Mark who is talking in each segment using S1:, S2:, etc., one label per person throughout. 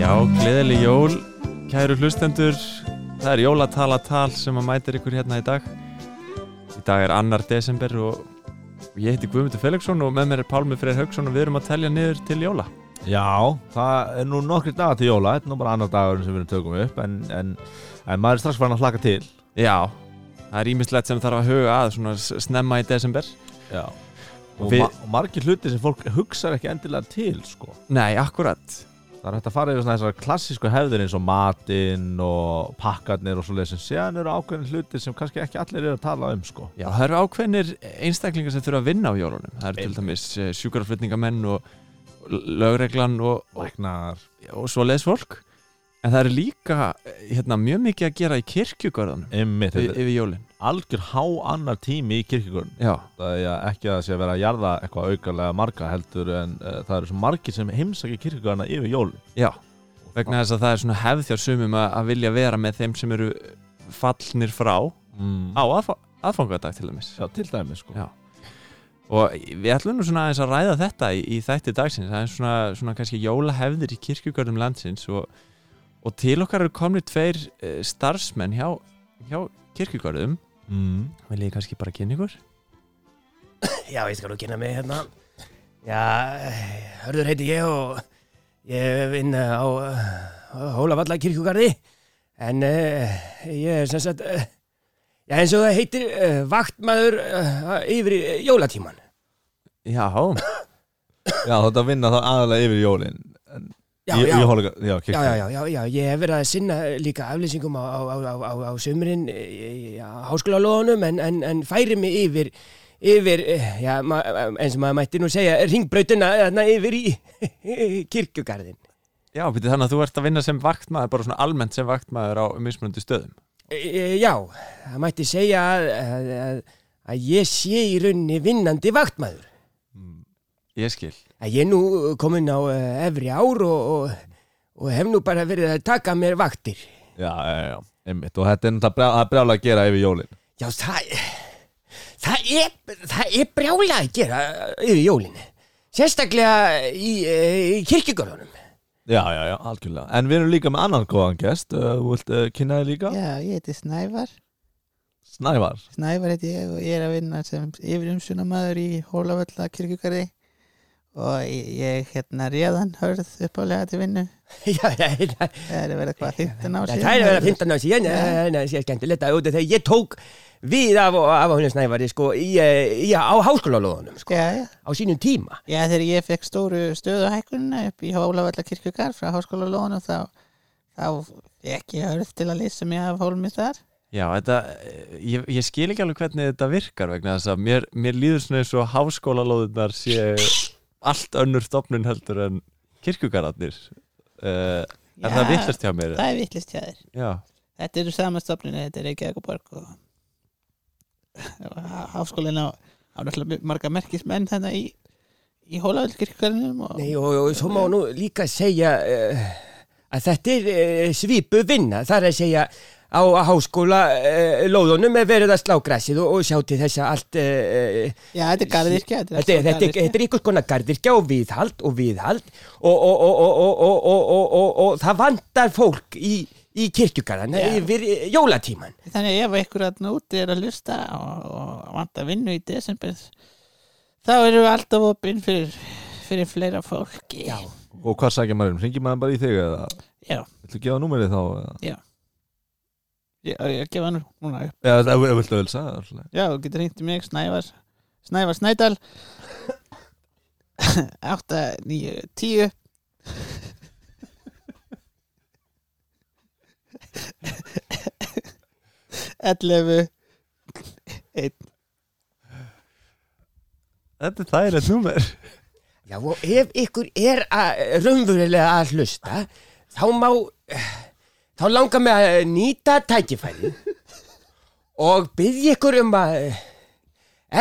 S1: Já, gleðileg jól, kæru hlustendur. Það er jólatalatal sem að mætir ykkur hérna í dag. Í dag er annar desember og ég heiti Guðmundur Felixson og með mér er Pálmi Freyr Haugsson og við erum að telja niður til jóla.
S2: Já, það er nú nokkri dagar til jóla, þetta er nú bara annar dagur sem við erum tökum upp en, en, en maður er strax farin að hlaka til
S1: Já, það er ímislegt sem þarf að huga að svona s- snemma í desember.
S2: Já Og,
S1: Við-
S2: ma og margir hluti sem fólk hugsar ekki endilega til sko.
S1: Nei, akkurat.
S2: Það er hægt að fara yfir svona þessar klassísku hefðir eins og matinn og pakkarnir og svoleiðis en séðan eru ákveðin hluti sem kannski ekki allir eru að tala um sko.
S1: Já, það eru ákveðnir einstaklingar sem þurfa að vinna á jólunum. Það eru til dæmis eh, sjúkraflutningamenn og lögreglan og, og,
S2: Læknar
S1: og svo fólk. En það eru líka eh, hérna, mjög mikið að gera í kirkjugörðunum
S2: Ymmið,
S1: yfir,
S2: þetta er
S1: yfir jólin.
S2: algjör há annar tími í kirkjögun
S1: Já,
S2: Það er ekki að það sé að vera að jarða eitthvað aukarlega marga heldur en uh, það eru svo margir sem heimsækja kirkjöguna yfir jól
S1: já, vegna þess að það er svona hefð þjá sumum að, að vilja vera með þeim sem eru fallnir frá á
S2: mm.
S1: aðf aðfangadag til dæmis.
S2: Já, til dæmis sko
S1: Mhm. Já. Og við ætlum nú svona aðeins að ræða þetta í, í þætti dagsins, það er svona, svona kannski jólahefðir í kirkjugörðum landsins og, og til okkar eru komni tveir eh, starfsmenn hjá, hjá kirkjugörðum,
S2: mm.
S1: vil ég kannski bara kynna ykkur?
S3: Já, ég skal nú kynna mig hérna. Já, hörður heiti ég og ég vinn eh, á Hólavalla kirkjugarði en uh, ég er sem sagt, uh, já eins og það heitir uh, vaktmaður uh, yfir í jólatíman.
S1: Já,
S2: Já, þetta vinna þá aðalega yfir jólin en,
S3: Já,
S2: ég,
S3: já.
S2: Ég hóla, já,
S3: Já, já, já, já, já, ég hef verið að sinna líka aflýsingum á, á, á, á, á, á sömurinn, á háskólalóðunum en, en, en færi mig yfir, yfir, eh, já, ma, eins og maður mætti nú segja, ringbrautina þarna yfir í kirkjugarðin.
S1: já, beti, þannig að þú ert að vinna sem vaktmaður, bara svona almennt sem vaktmaður á mismunandi stöðum.
S3: E, Já, það mætti segja að, að, að, að ég sé í raunni vinnandi vaktmaður.
S1: Ég skil.
S3: Að ég er nú komin á eh, efri ár og, og, og hef nú bara verið að taka mér vaktir.
S2: já, já, já. Einmitt, Og þetta er náttúrulega brjá- það er brjálega að gera yfir jólin
S3: Já, það, það, er, það er brjála að gera yfir jólinni. Sérstaklega í, eh, í kirkjugörðunum.
S2: Já, já, já, algjörlega En við erum líka með annan góðan gest uh, Þú vilt uh, kynna þig líka?
S4: Já, ég heiti Snævar
S2: Snævar
S4: Snævar heiti ég og ég er að vinna sem yfirumsunamaður í Hólavölla kirkjugarði og ég- ég hérna réðan hörð uppálega til vinnu
S3: Já, já, já,
S4: það er að vera hvað 15 ár
S3: Já, það er að vera 15 ára síðan, en það sé skemmtilegt að auðvitað þegar ég tók við af, af honum snævari sko, í, eh, í, á háskólalóðunum sko,
S4: Já, já,
S3: á sínum tíma.
S4: já, þegar ég fekk stóru stöðuhækunna upp í Hólavölla kirkjugarð frá háskóla lónu þá, þá fekk ég hörð til að lýsa mig af hólmi þar
S1: Já, þetta, eh, ég, ég skil ekki alveg hvernig þetta virkar vegna þess að mér, mér líður svona eins og háskólalóðunar sé allt önnur stofnun heldur en kirkugararnir. Uh, er
S4: Já,
S1: það vittlust hjá mér?
S4: Það er vittlist hjá þér
S1: Já,
S4: Þetta eru samastofninu, þetta er Reykjavík og Borg og háskólinn á, á náttúrulega marga merkismenn þannig í, í Hólaöldkirkjörnum og
S3: Nei, og, og svo má nú líka segja uh, að þetta er uh, svipu vinna, þar að segja á háskóla uh, lóðunum er verið að slá græsið og, og sjá til þess að allt uh,
S4: já, þetta er garðirkja
S3: þetta, þetta, er- þetta, er- þetta er ykkur konar gardirkja og viðhald og viðhald og, og, og, og, og, og, og, og, og, og það vantar fólk í, í kirkjugarðan
S4: Já.
S3: yfir eh, jólatíman.
S4: þannig ef einhver að úti er að lusta og, og vant að vinna í desember þá erum við alltaf opinn fyrir, fyrir fleira fólki
S3: Já.
S2: Og hvað sækja maður um? Ringir maður bara í þig eða?
S4: já,
S2: Viltu gefa númerið þá? eða?
S4: já ég, ég gefa hann núna upp
S2: Já, eða eða viltu ölsa?
S4: já, þú getur hringt í mig, Snævar Snævar Snædal 8, 9, 10 11 1
S1: þetta er þægilegt númer.
S3: Já, og ef ykkur er að, raunverulega að hlusta, þá má, þá langar mig að nýta tækifæri og byggja ykkur um að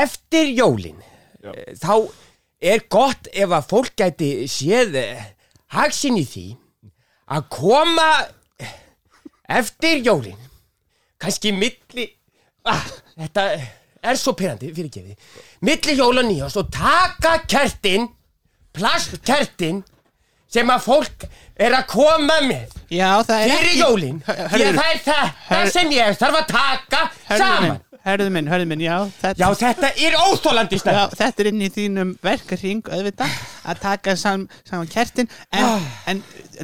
S3: eftir jólin, þá er gott ef að fólk gæti séð hagsin í því að koma eftir jólin kannski milli ah, þetta er svo perandi fyrir milli jóla nýjast og taka kertin plastkertin sem að fólk er að koma með
S4: Já, það er
S3: fyrir
S4: ekki
S3: jólin því að það er þetta
S4: Herðu-
S3: sem ég þarf að taka
S4: Hörðu
S3: saman
S4: minn, hörðu minn, hörðu minn, já
S3: Já,
S4: þetta,
S3: þetta er óþólandi
S4: já,
S3: stærð
S4: þetta er inn í þínum verkarhing auðvitað að taka sam, saman kertin en, en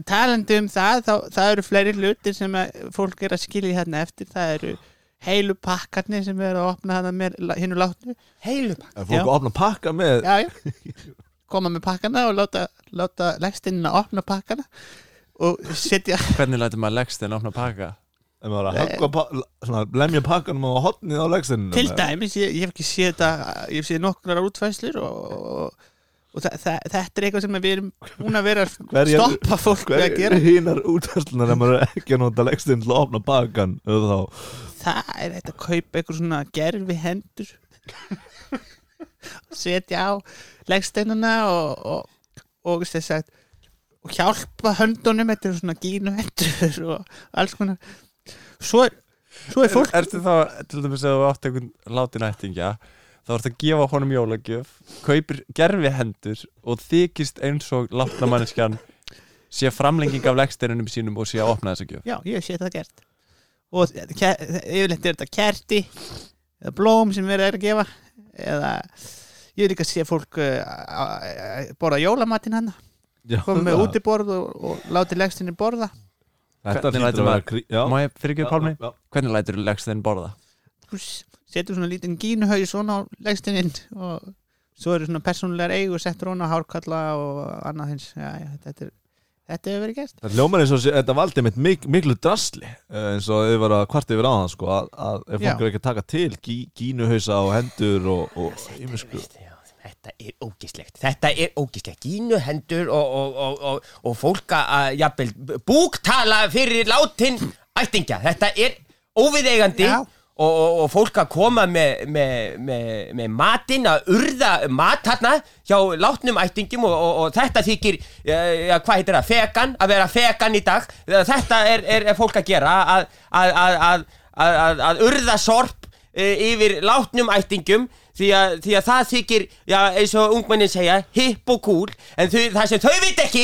S4: talandi um það þá, það eru fleiri hlutir sem að fólk er að skilja hérna eftir það eru heilu pakkarnir sem eru að opna hana með hinnu látnu
S3: Heilubak
S2: En fólk
S4: Já.
S2: opna pakka með
S4: já, já. koma með pakkana og láta, láta legstinnina opna pakkana og setja
S1: Hvernig lætur maður leggst en opna pakka?
S2: En maður að höggva pa- l- svona, lemja pakkanum á hotnið á legstinu
S4: til dæmis, ég, ég hef ekki séð þetta ég hef séð nokkrar útfæslur og, og, og þa þa þetta er eitthvað sem við erum búin að vera að stoppa fólk við að
S2: Hverjar
S4: gera,
S2: eru hínar útvarslunar ef maður er ekki að nota legstinu til að opna pakkan eða þá
S4: það er þetta að kaupa eitthvað svona gerfi hendur setja á legsteinuna og, og, og, sem sagt, og hjálpa höndunum þetta er svona gínu hendur og alls konar svo er, svo er fólk
S1: Ertu þá, til dæmis að þú átt einhvern látin ættingja þá ertu að gefa honum jólagjöf kaupir gerfi hendur og þykist eins og látna manneskjan sé framlenging af leggsteinunum sínum og sé að opna þessa gjöf
S4: Já, ég hef séð það gert og þetta ke- yfirleitt er þetta kerti eða blóm sem verið er að gefa eða ég hef líka séð fólk uh, að- að borða jólamatinn hann
S2: Já,
S4: komið með
S2: það-
S4: útiborð og, og látið legstinni borða
S2: Þetta
S1: Hvernig
S2: hlýtur
S1: lætur
S2: að vera
S1: maður-
S2: krí- já.
S1: Má ég fyrirgeðu pálmi?
S2: Já, já.
S1: Hvernig lætur leggstein borða?
S4: Þú s- setur svona lítinn gínuhau svona á legstinin og svo eru svona persónulegar eigu settur hún á hárkalla og annað hins já, já, þetta, er, þetta hefur verið gert
S2: Það hljómar eins og sé- þetta valdi mitt mik miklu drasli eh, eins og þau var að kvart yfir á það sko, að, að ef
S4: Já.
S2: fólk er ekki að taka til gí, gínuhausa og hendur og, og ímisku
S3: Þetta er ógislegt Þetta er ógislegt Gínu hendur og, og, og, og, og fólk að jafnvel, búktala fyrir látin ættingja Þetta er óviðeigandi
S4: Já.
S3: og, og, og fólk að koma með, með, með, með matinn að urða mat þarna hjá látnum ættingjum og, og, og þetta þykir ja, ja, hvað heitir það, fegan, að vera fegan í dag þetta er, er, er fólk að gera að, að, að, að, að, að, að urða sorp eh, yfir látnum ættingum því að, því að það þykir, já, eins og ungmennin segja, hipp og cool en þau, það sem þau veit ekki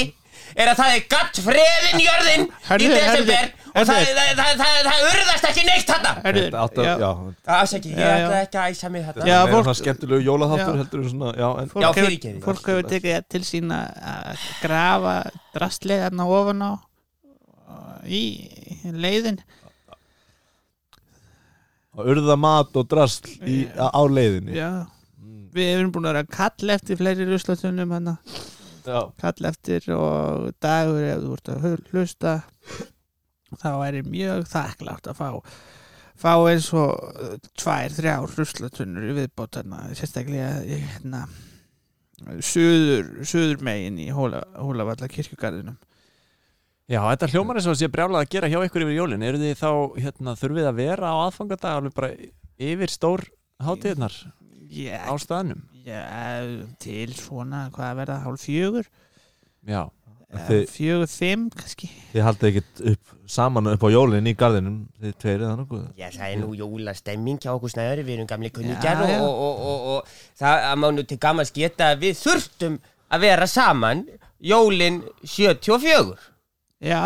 S3: er að það er gatt freðin jörðin í
S4: Hörðu,
S3: desember
S4: hörðu,
S3: og það,
S4: hörðu.
S3: það, það, það, það urðast ekki neitt þarna
S4: Hörðu,
S2: Þetta átt að, já,
S3: Afsaki, ég
S4: Já, já.
S3: ætla ekki að æsa mig þarna
S4: Já,
S2: já
S4: fólk-
S2: fólk, svona skemmtilegu jólaþáttur
S4: Já.
S2: heldur en svona, já, en,
S3: Já,
S4: fólk hefur,
S3: fyrirgefið.
S4: fólk hefur tekið það til sín að- að grafa drastlið hérna ofan á í leiðin
S2: og urða mat og drasl í, á á leiðinni
S4: já. við erum búin að vera að kalla eftir fleiri ruslatunum hann
S2: Já.
S4: kalla eftir og dagur ef þú ert að hu- hlusta þá er ég mjög þakklátt að fá fá eins og uh, tvær, þrjár ruslatunur í viðbótana sérstaklega í, hérna suður, suður megin í Hóla, Hólavalla kirkjugarðinum
S1: Já, þetta hljómar eins og sé brjálað að gera hjá ykkur yfir jólin Eru þið þá, hérna, þurfið að vera á aðfangadag alveg bara yfir stór hátíðnar
S4: Já,
S1: á staðnum?
S4: já, til svona, hvað að verða, hálf fjögur?
S1: Já,
S4: Eða
S2: Þið-
S4: Fjögur, fimm, kannski.
S2: Þið haldið ekkit upp, saman upp á jólin í garðinum Þið tveir eða nokkuð
S3: Já, það er nú jólastemming hjá okkur snæður, við erum gamli kunningjar
S4: Já,
S3: og,
S4: já.
S3: og, og, og, og það að má nú til gammans geta að við þurftum að vera saman jólin 74.
S4: Já,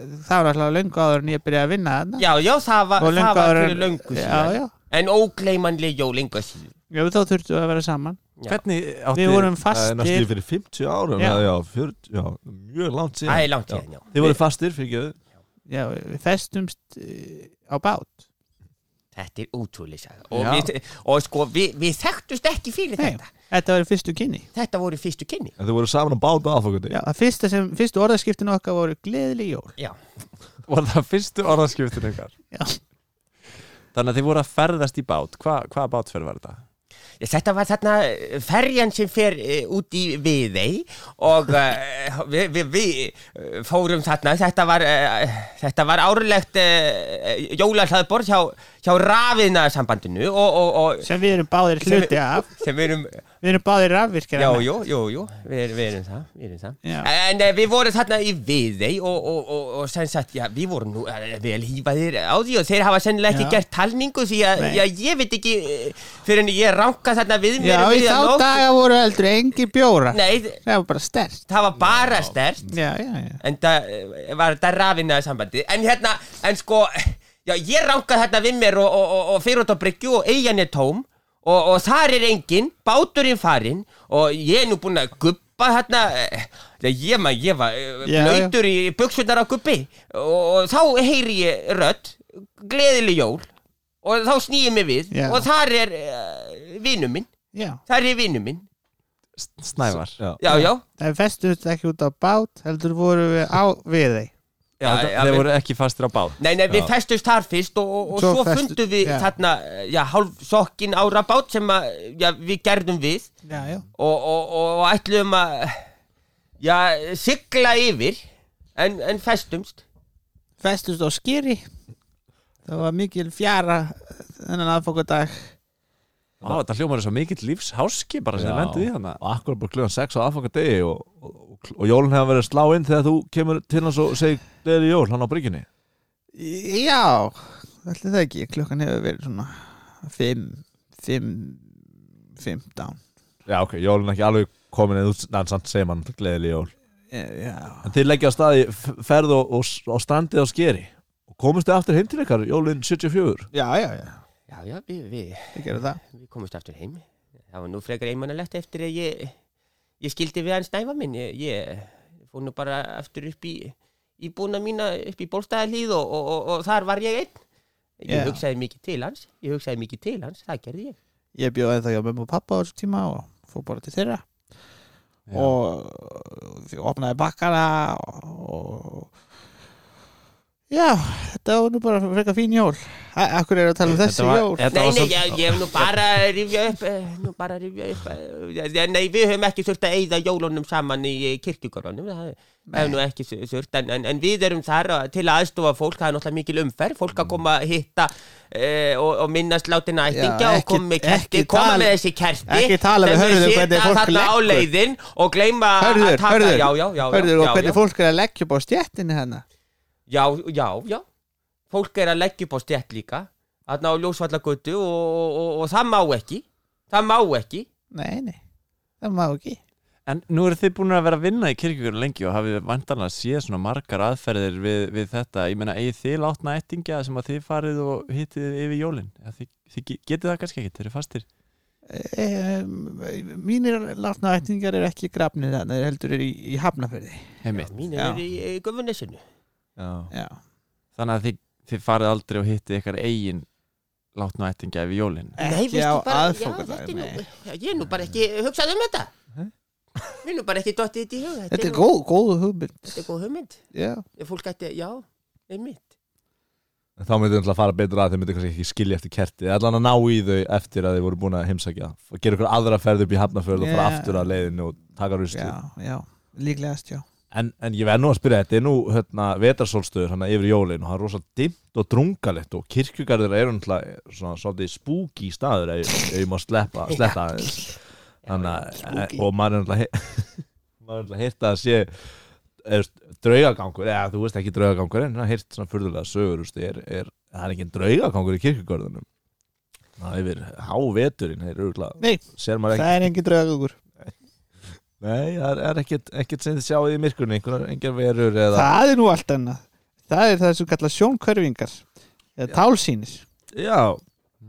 S4: það var alltaf löngu áður en ég byrjaði að vinna þarna.
S3: Já, já, það var,
S4: Og
S3: það
S4: löngu
S3: var
S4: áður en-
S3: fyrir löngu
S4: Já,
S3: síðan.
S4: já.
S3: En ógleymanleg jól enga síðan.
S4: Já, þá þurftum við að vera saman.
S3: Já.
S1: hvernig átti
S4: Við vorum
S2: Það er næstu
S4: fastir.
S2: fyrir 50 árum
S4: Já.
S2: Já, já, 40, já mjög langt síðan
S3: Það er langt síðan, já.
S2: Þið voru fastir, fyrir ekki
S4: Já, við festumst eh, á bát.
S3: Þetta er útrúlega saga. Og,
S4: Já.
S3: við, og sko, við, við þekktust ekki fyrir
S4: Nei,
S3: þetta.
S4: þetta var í fyrstu kynni.
S3: Þetta voru fyrstu kynni.
S2: En þið voru saman á báta aðfokandi
S4: Já, það fyrsta sem, fyrstu orðaskiptin okkar voru gleðileg jól.
S3: Já,
S1: var það fyrstu orðaskiptin ykkar?
S4: Já.
S1: Þannig að þið voru að ferðast í bát Hva, Hvaða bátferð var þetta?
S3: Ég, Þetta var þarna eh, ferjan sem fer uh, út í Viðey og uh, við vi, vi, eh, fórum þarna, þetta var, uh, þetta var árlegt uh, eh, jólahlaðborð hjá, hjá rafiðnaðarsambandinu og, og, og
S4: sem við erum báðir
S3: Sem við-
S4: hluti af
S3: sem við erum
S4: við erum báðir hérna. rafvirkir
S3: Já, jú, jú, jú, við, við erum það, við erum það.
S4: Já.
S3: En uh, við vorum þarna í Viðey og, og, og, og sem sagt, já, við vorum nú uh, vel hýfaðir á því og þeir hafa sennilega ekki
S4: Já.
S3: gert talningu því að,
S4: Nei.
S3: já, ég veit ekki eh, fyrir en ég ranka þarna við mér
S4: já
S3: um
S4: í
S3: miðja
S4: þá
S3: nótt.
S4: daga voru eldur engin bjóra
S3: Nei,
S4: það var bara stert
S3: það var bara stert
S4: já, já, já.
S3: en það eh, var þetta rafinnaði sambandi en hérna, en sko já, ég ranka þarna við mér og, og, og, og fyrir út á bryggju og eigin er tóm og, og þar er enginn, báturinn farinn og ég er nú búinn að guppa þarna eh, ég, man, ég var eh,
S4: Já, já.
S3: blöytur í buksunar á guppi og, og þá heyri ég rödd gleðileg jól og þá snýi ég mig við
S4: Já.
S3: og þar er uh, vinnu minn
S4: já.
S3: þar er vinnu minn,
S1: Snævar
S2: Já.
S3: já, já
S4: það festuðust ekki út á bát heldur voru við á við þeim
S3: Já,
S1: Þetta-
S3: já,
S1: Þeir
S3: við-
S1: voru ekki fastir á bát
S3: Nei, nei, við festumst þar fyrst og, og, og
S4: Svo
S3: svo,
S4: festu-
S3: fundum við
S4: já.
S3: þarna, já, hálf sokkin ára bát sem að, já, við gerðum við
S4: já, já.
S3: og, og, og, og ætluðum að, já, sigla yfir en, en festumst.
S4: festust á skýri það var mikil fjara þennan aðfokadag
S1: Á, þetta hljómar er svo mikill lífsháski bara sem
S2: Já.
S1: þið lendið í þannig
S2: Og akkur bara klugan 6 á aðfanga degi og, og, og, og jólun hefur verið að slá inn þegar þú kemur til hans og segir gleði jól hann á bryggjunni
S4: já, ætli það ekki klukkan hefur verið svona 5 5 15
S2: Já ok, jólun er ekki alveg komin en þú nann samt segir mann gleði jól
S4: Eh, já
S2: En þið leggja á staði ferð og, og, og strandið á skeri og komist þið aftur heim til ykkar jólun 74
S4: Já, já, já,
S3: Já, já, við, við,
S4: ég gerði það
S3: við komumst aftur heim. Það var nú frekar einmannalegt eftir að ég, ég skildi við hann snæfa minn. Ég, ég fór nú bara aftur upp í, í búna mína, upp í bólstaðalíð og, og, og, og þar var ég einn. Ég
S4: Já.
S3: hugsaði mikið til hans, ég hugsaði mikið til hans, það gerði ég.
S4: Ég bjóði það hjá mömmu og pappa á þessu tíma og fór bara til þeirra og ég opnaði bakkana og já, þetta var nú bara frekar fín jól A- Akkur er að tala um þessi
S1: var-
S4: jól
S1: þetta
S3: Nei,
S1: var
S3: nei,
S1: svo-
S3: ég, ég hef nú bara að rifja upp, eh, nú bara að rifja upp, eh, ja, nei, við höfum ekki þurft að eyða jólunum saman í kirkjugörunum, það það hefur nú ekki þurft, en, en, en við erum þar að- til að aðstofa fólk, það er náttúrulega mikil umferð, fólk að koma að hitta eh, og, og minnast látina ættingja
S4: Mm. Já,
S3: og
S4: ekki-
S3: koma með kerti,
S4: ekki
S3: koma
S4: tala-
S3: með þessi kerti,
S4: ekki tala við
S3: sem
S4: hörðu
S3: sitja
S4: hvernig fólk
S3: þarna á
S4: leggur.
S3: leiðin og gleyma að
S4: Hörður,
S3: taka,
S4: hörður,
S3: já, já, já, já,
S4: hörður og
S3: já,
S4: hvernig fólk er að leggja upp á hérna? stjættinni hennar
S3: Já, já, já Fólk er að leggja upp á stjætt líka Þarna á ljósvallagötu og, og, og, og það má ekki Það má ekki
S4: Nei, nei, það má ekki
S1: En nú eru þið búin að vera að vinna í kirkjögur lengi og hafið vantanlega séð svona margar aðferðir við, við þetta. Ég meina, eigið þið látna ættingja sem að þið farið og hittið yfir jólin? Ja, þið, þið ge- getið það kannski ekki, þeir eru fastir.
S4: Um, mínir látna ættingar er ekki grafnið þannig heldur er í, í hafnaferði
S1: Heimitt.
S3: Mín
S4: Já.
S3: er í, í gufunesinu
S2: Já
S4: já.
S1: Þannig að þið, þið farið aldrei og hittið ykkar eigin látna ættingja yfir jólin.
S3: Nei,
S4: ekki
S3: veistu
S4: á
S3: bara- já,
S4: aðfokkadag
S3: þetta er nú, já, Ég er nú bara ekki hugsað um þetta Mér er nú bara ekki dottið þetta í hug
S4: Þetta er
S3: nú-
S4: góð, góð hugmynd
S3: Þetta er góð hugmynd
S4: Já,
S3: Ef Fólk ætti, já, einmitt
S2: En þá myndið að fara betur að þeir myndið kannski ekki skilja eftir kertið allan að ná í þau eftir að þeir voru búin að heimsækja og gera ykkur aðra ferð upp í hafnafjörð og fara
S4: Já.
S2: aftur að leiðinu og taka rustu
S4: já, já, líklegast já
S2: en, en ég verð nú að spyrja, þetta er nú hérna, vetarsólstöður hann yfir jólin og það er rosa dimmt og drungalegt og kirkjugarðir eru náttúrulega svona svolítið spooky staður ef ef ég má sleppa, sletta aðeins Þannig, að- eh, og maður er náttúrulega he- maður er náttúrulega heyrt að sé er, draugagangur, eða þú veist ekki draugagangur en það er heyrt svona furðulega sögur þú veist, er, er, það er ekki draugagangur í kirkjugarðunum það er yfir háveturinn þeir eru örugglega-
S4: Nei,
S2: sér maður ekki
S4: það er engin draugugur
S2: nei, það er, er ekkert, ekkert sem þið sjáið í myrkunni einhverjar engar verur eða
S4: Það er nú allt annað Það er það sem kalla sjónkörfingar eða tálsýnis
S2: já,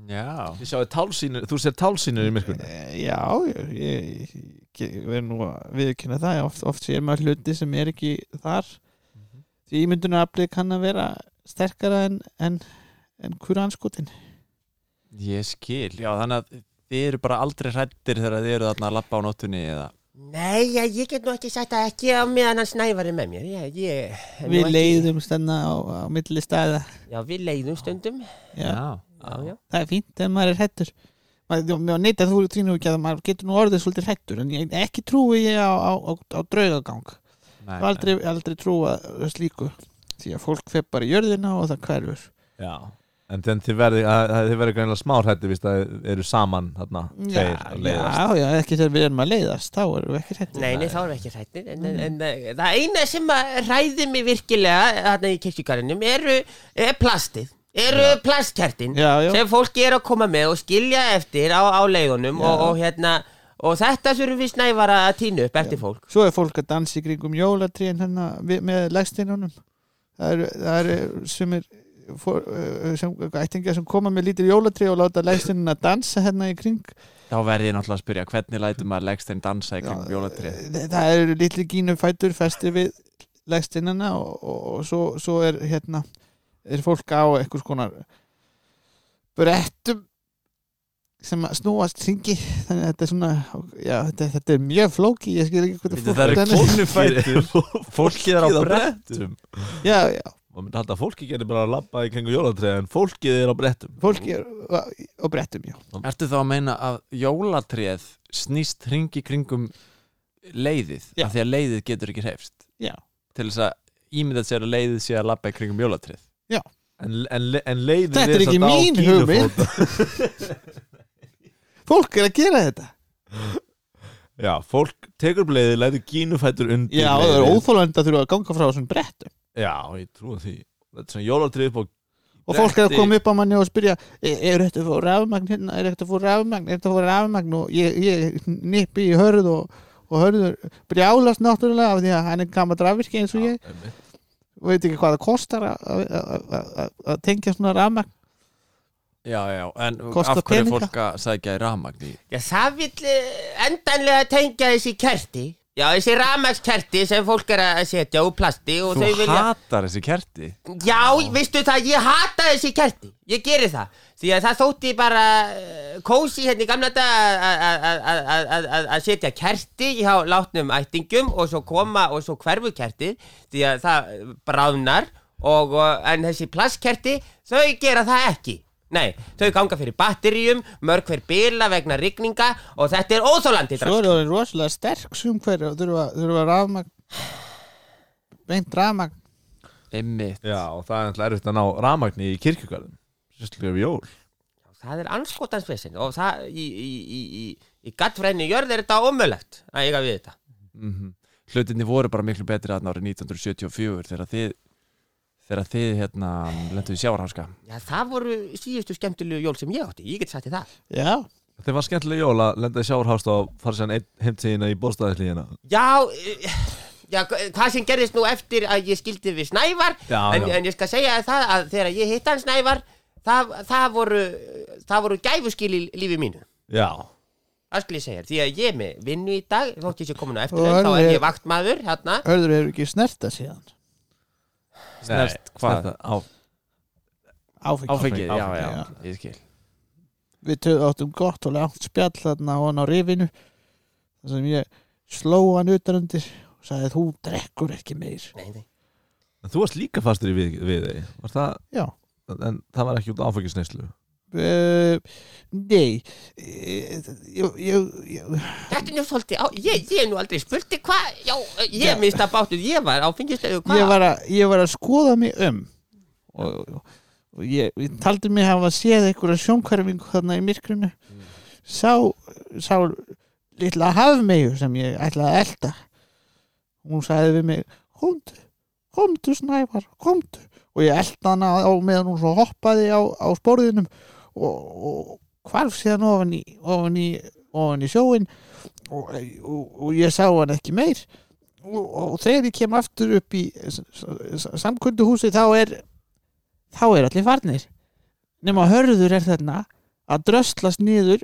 S1: Já.
S2: Ég sjáði tálsýnur, þú sér tálsýnur í myrkunni
S4: Eh, Já, ég, ég, ég verð nú að viðkynna það oft, oft sér maður hluti sem er ekki þar því ímyndunaraflið kann að vera sterkara en, en, en kuranskotin
S1: Ég skil. Já, þannig að þið eru bara aldrei hrættir þegar þið eru þarna að lappa á nóttunni eða...
S3: Nei, já, ég get nú ekki sagt að ekki á meðan hann snævar er með mér ég, ég, er nú
S4: Við
S3: ekki-
S4: leiðum stenna á, á milli staða
S3: Já, við leiðum stundum Já,
S4: Já.
S3: já
S4: Það er fínt en maður er hættur maður maður neyta þú trínur ekki að maður getur nú orðið svolítið hættur en ég, ekki trúi ég á, á, á, á draugagang
S1: Nei,
S4: Ég aldrei, aldrei trúa slíku því að fólk fer bara í jörðina og það hverfur
S2: Já En þannig þið verði, að- að þið verði greinlega smárhætti víst að þið eru saman þarna
S4: já, já, já, ekki þegar við erum að leiðast þá erum við ekki hrættir
S3: Nei, nei, þá erum við ekki hrættir en, en, en eh, það eina sem að ræði mig virkilega þarna í kirkjugarðinum eru er plastið eru plastkertin
S4: Já, já.
S3: sem fólki er að koma með og skilja eftir á, á leiðunum og, og hérna og þetta þurfum við snæfara að týna upp eftir fólk
S4: Svo er fólk að dansa í kringum jólatrín hérna við- með legsteinunum Það eru, það eru sem er for, eh, sem, ættingja sem koma með lítir jólatrí og láta legsteinuna dansa hérna í kring
S1: Þá verði ég náttúrulega að spyrja hvernig lætur maður leggstein dansa í kringum jólatrið
S4: Þa- eh, það eru litli gínufætur festir við legstinnina og, og, og svo, svo er hérna er fólk á eitthvað konar brettum sem að snúast hringi þannig að þetta er svona já, þetta, þetta er mjög flóki ég skil ekki hvað
S1: Þetta er
S4: þetta
S1: fólk-
S4: flóki
S1: Fólkið-
S2: Fólkið er á brettum
S4: já, já,
S2: Og myndi halda að fólki gerir bara að labba í kringu jólatræði En fólkið er á brettum
S4: fólki er á, á brettum já.
S1: Ertu þá að meina að jólatrið snýst hringi kringum leiðið,
S4: Já.
S1: af því að leiðið getur ekki hreifst
S4: Já.
S1: til þess að ímyndað sér að leiðið sé að labba í kringum jólatrið
S2: En, en, en leiðin
S4: Þetta er
S2: samt
S4: ekki
S2: á
S4: mín
S2: kínufót.
S4: hugmynd. fólk er að gera þetta
S2: Já, fólk tekur upp leiðið, lætur gínufætur undir
S4: já, það er
S2: leiðið.
S4: óþólvend að þurfa að ganga frá þessum brettum
S2: Já, ég trúi því Þetta er svona jólatræði upp á
S4: og fólk er að
S2: Bretti.
S4: koma upp á manni og spyrja "E- er þetta að fá rafmagn hérna, er þetta að fá rafmagn er þetta að fá rafmagn og ég, ég nippi í hörð og, og hörður brjálast náttúrulega af því að hann er gammal rafvirki eins og ég
S2: einmitt.
S4: og veit ekki hvað það kostar að- að- að- að að- að tengja svona rafmagn
S1: Já, já, en
S4: Kostar
S1: af hverju er
S4: peninga?
S1: fólk að sækja í rafmagn í
S3: Já, það vill eh, endanlega tengja þessi kerti Já, þessi ramagskerti sem fólk er að setja úr plasti og
S1: Þú
S3: þau vilja
S1: hatar þessi kerti
S3: Já, veistu það, ég hata þessi kerti Ég geri það Því að það þótti bara uh, kósi hérna í gamla dag að- að- að- að- að- að- að- að setja kerti hjá látnum ættingum og svo koma og svo hverfu kertið því að það bráðnar og, og, en þessi plastkerti þau gera það ekki Nei, þau ganga fyrir batteríum, mörg hver bila vegna rigninga og þetta er óþólandi
S4: svo er það rosalega sterk sum hverju og þurfa, þurfa rafmagn beint rafmagn
S1: Einmitt
S2: Já, og það er náttúrulega erfitt að ná rafmagni í kirkjugarðum Sérstaklega við jól
S3: það er anskotansvesin og það í, í, í, í, í gattfræðinu jörð er þetta ómöðlegt að eiga við þetta
S1: mm hlutinni voru bara miklu betri aðna árið 1974 þegar þið þegar þið hérna lendu í sjávarháska
S3: Já, það voru síðustu skemmtilegu jól sem ég átti, ég get sagt þér það
S4: já,
S2: Þeir var skemmtilega jól að lenda í sjáurhást og fara sér heimtíðina í bóstaðislíðina
S3: Já, eh, já, hvað sem gerðist nú eftir að ég skildi við Snævar
S2: Já,
S3: en,
S2: já.
S3: en ég skal segja þér það að þegar ég hitti hann Snævar það, það, voru, það voru gæfuskil í lífi mínu
S2: Já,
S3: Það skulle ég segja, þér, því að ég er með vinnu í dag þótt ég sé komin á eftir,
S4: Og
S3: en þá
S4: hann
S3: er
S4: er-
S3: ég vaktmaður hérna.
S4: hörður hefur ekki snerta síðan
S1: Snert, hvað?
S2: Snerta á,
S4: áfengi,
S1: áfengið, já,
S2: áfengi,
S1: já,
S4: já.
S1: ég skil
S4: við töð áttum gott og langt spjall þarna og hann á rifinu þar sem ég sló hann utanundir og sagði þú drekkur ekki meir
S3: Nei, nei.
S2: en þú varst líka fastur í við, við þeir Varst það,
S4: já
S2: en það var ekki út áfengisneislu
S4: Uh, nei Eh, ég, ég, ég,
S3: Þetta er nú svolítið, á, ég, ég er nú aldrei spurti hvað, já, ég
S4: Já.
S3: mista bátuð, ég var á fengistöðu hvað.
S4: ég, var að, ég var að skoða mig um og, og, og ég, ég taldi mig hafa séð einhverja sjónkverfingu þarna í myrkrinu sá, sá litla hafmeyju sem ég ætlaði að elda hún sagði við mig komdu, komdu snævar komdu og ég elda hana á meðan hún svo hoppaði á, á sporðinum og, og hvarf síðan ofan í, ofan í, ofan í sjóin og, og, og ég sá hann ekki meir og, og þegar ég kem aftur upp í samkunduhúsi þá er þá er allir farnir nema hörður er þarna að dröslast niður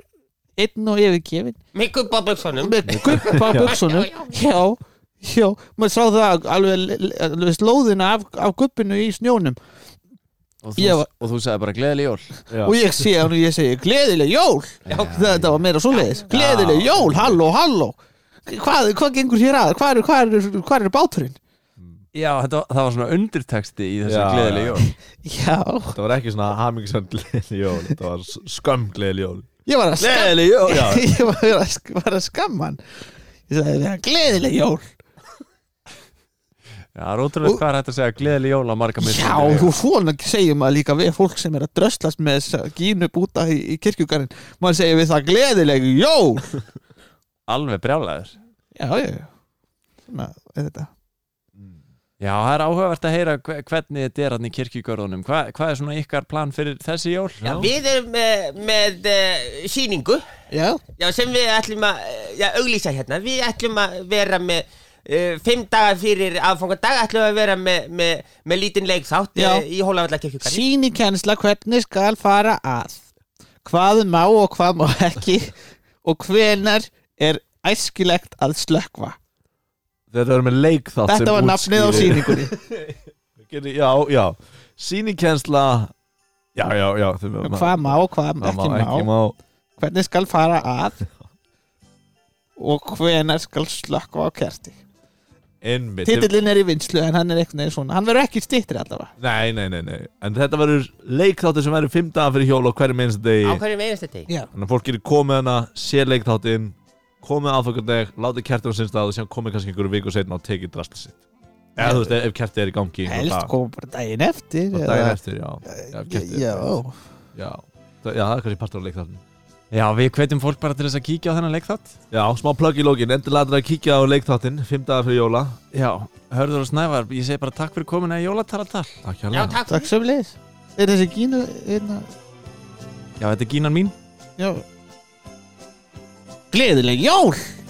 S4: einn og yfirgefin
S3: Mikku Bobbjörnssonum.
S4: með guppa á buksunum
S3: Já,
S4: já, já, maður sá það alveg, alveg slóðina af, af guppinu í snjónum
S1: og
S4: Ég
S1: þú,
S4: var-
S1: og þú sagði bara gleðileg jól
S2: Já.
S4: og ég sé hann og ég segi gleðileg jól
S3: Já.
S4: þetta var meira svoleiðis gleðileg jól, halló, halló hvað, hvað gengur hér að, hvað er, hvað er, hvað er báturinn
S1: já, þetta, það var svona undirteksti í þessu
S2: Já,
S1: gleðileg
S2: já.
S1: jól
S4: já,
S2: Það var ekki svona hamingisam gleðli jól Þetta var s- skömm gleðli jól
S4: ég var að skam
S2: Gleðli jól, já
S4: ég var að, sk- var að skamma hann ég sagði það er gleðileg jól
S1: Já, það er ótrúlega
S4: Og-
S1: hvað er hægt að segja gleðileg jól á marga
S4: Já,
S1: mismunandi vegu.
S4: þú svona segir maður líka við fólk sem er að dröslast með þessa gínu búta í, í kirkjugarinn maður segir við það gleðileg, jó
S1: Alveg brjálæður
S4: Já, já, já Svona, er þetta
S1: Já, það er áhugavert að heyra hve- hvernig þetta er hann í kirkjugörðunum Hva, Hvað er svona ykkar plan fyrir þessi jól?
S3: Já, við erum með, með uh, síningu
S4: Já,
S3: já, sem við ætlum að eh, já, auglýsa hérna. Við ætlum að vera með uh, fimm daga fyrir aðfangadag ætlum við að vera með, með, með lítinn leikþátt
S4: Já.
S3: uh, í Hólavalla kirkjúkari.
S4: sínikensla hvernig skal fara að hvað má og hvað má ekki og hvenar er æskilegt að slökva
S2: Þetta var með leik þátt
S4: Þetta var nafnið á síningunni
S2: síni Já, já, sínikensla Já, já, já þau-
S4: Hvað má og hvað
S2: Það
S4: ekki má
S2: ekki má
S4: hvernig skal fara að og hvenar skal slökva á kerti
S2: Einmitt
S4: Titillinn er í vinslu en hann er einhvern veginn svona Hann verður ekki stittri allavega
S2: Nei, nei, nei, nei En þetta verður leikþáttir sem verður fimm dagar fyrir hjól og hverjum einstu degi
S3: Á hverjum einasta degi.
S4: Já,
S2: Þannig að fólk getur komið hana, sé leikþáttinn komið aðfokkardeg, látið kertið á sinn stað og sér komið kannski einhverju viku setna og tekið drastl sitt Eða þú veist, ef kertið er í gangi einhvern
S4: helst
S2: dag.
S4: koma bara daginn eftir
S2: Og
S4: eða-
S2: daginn eftir, já Já, ef kertið er-
S4: Já,
S2: já. Það- já, það er kannski partur á leikþáttin
S1: Já, við hvetjum fólk bara til þess að kíkja á þennan leikþátt
S2: Já, smá plögg í lókin, endilega þetta að kíkja á leikþáttinn fimm dagar fyrir jóla
S1: Já, hörður og snævar, ég segi bara takk fyrir komuna í jólatalatal
S2: Takk
S3: Já,
S2: hérlega
S3: takk.
S4: takk sem leis Er þessi gínu hérna- einna,
S1: Já, þetta er gínan mín
S4: já Gleðileg jól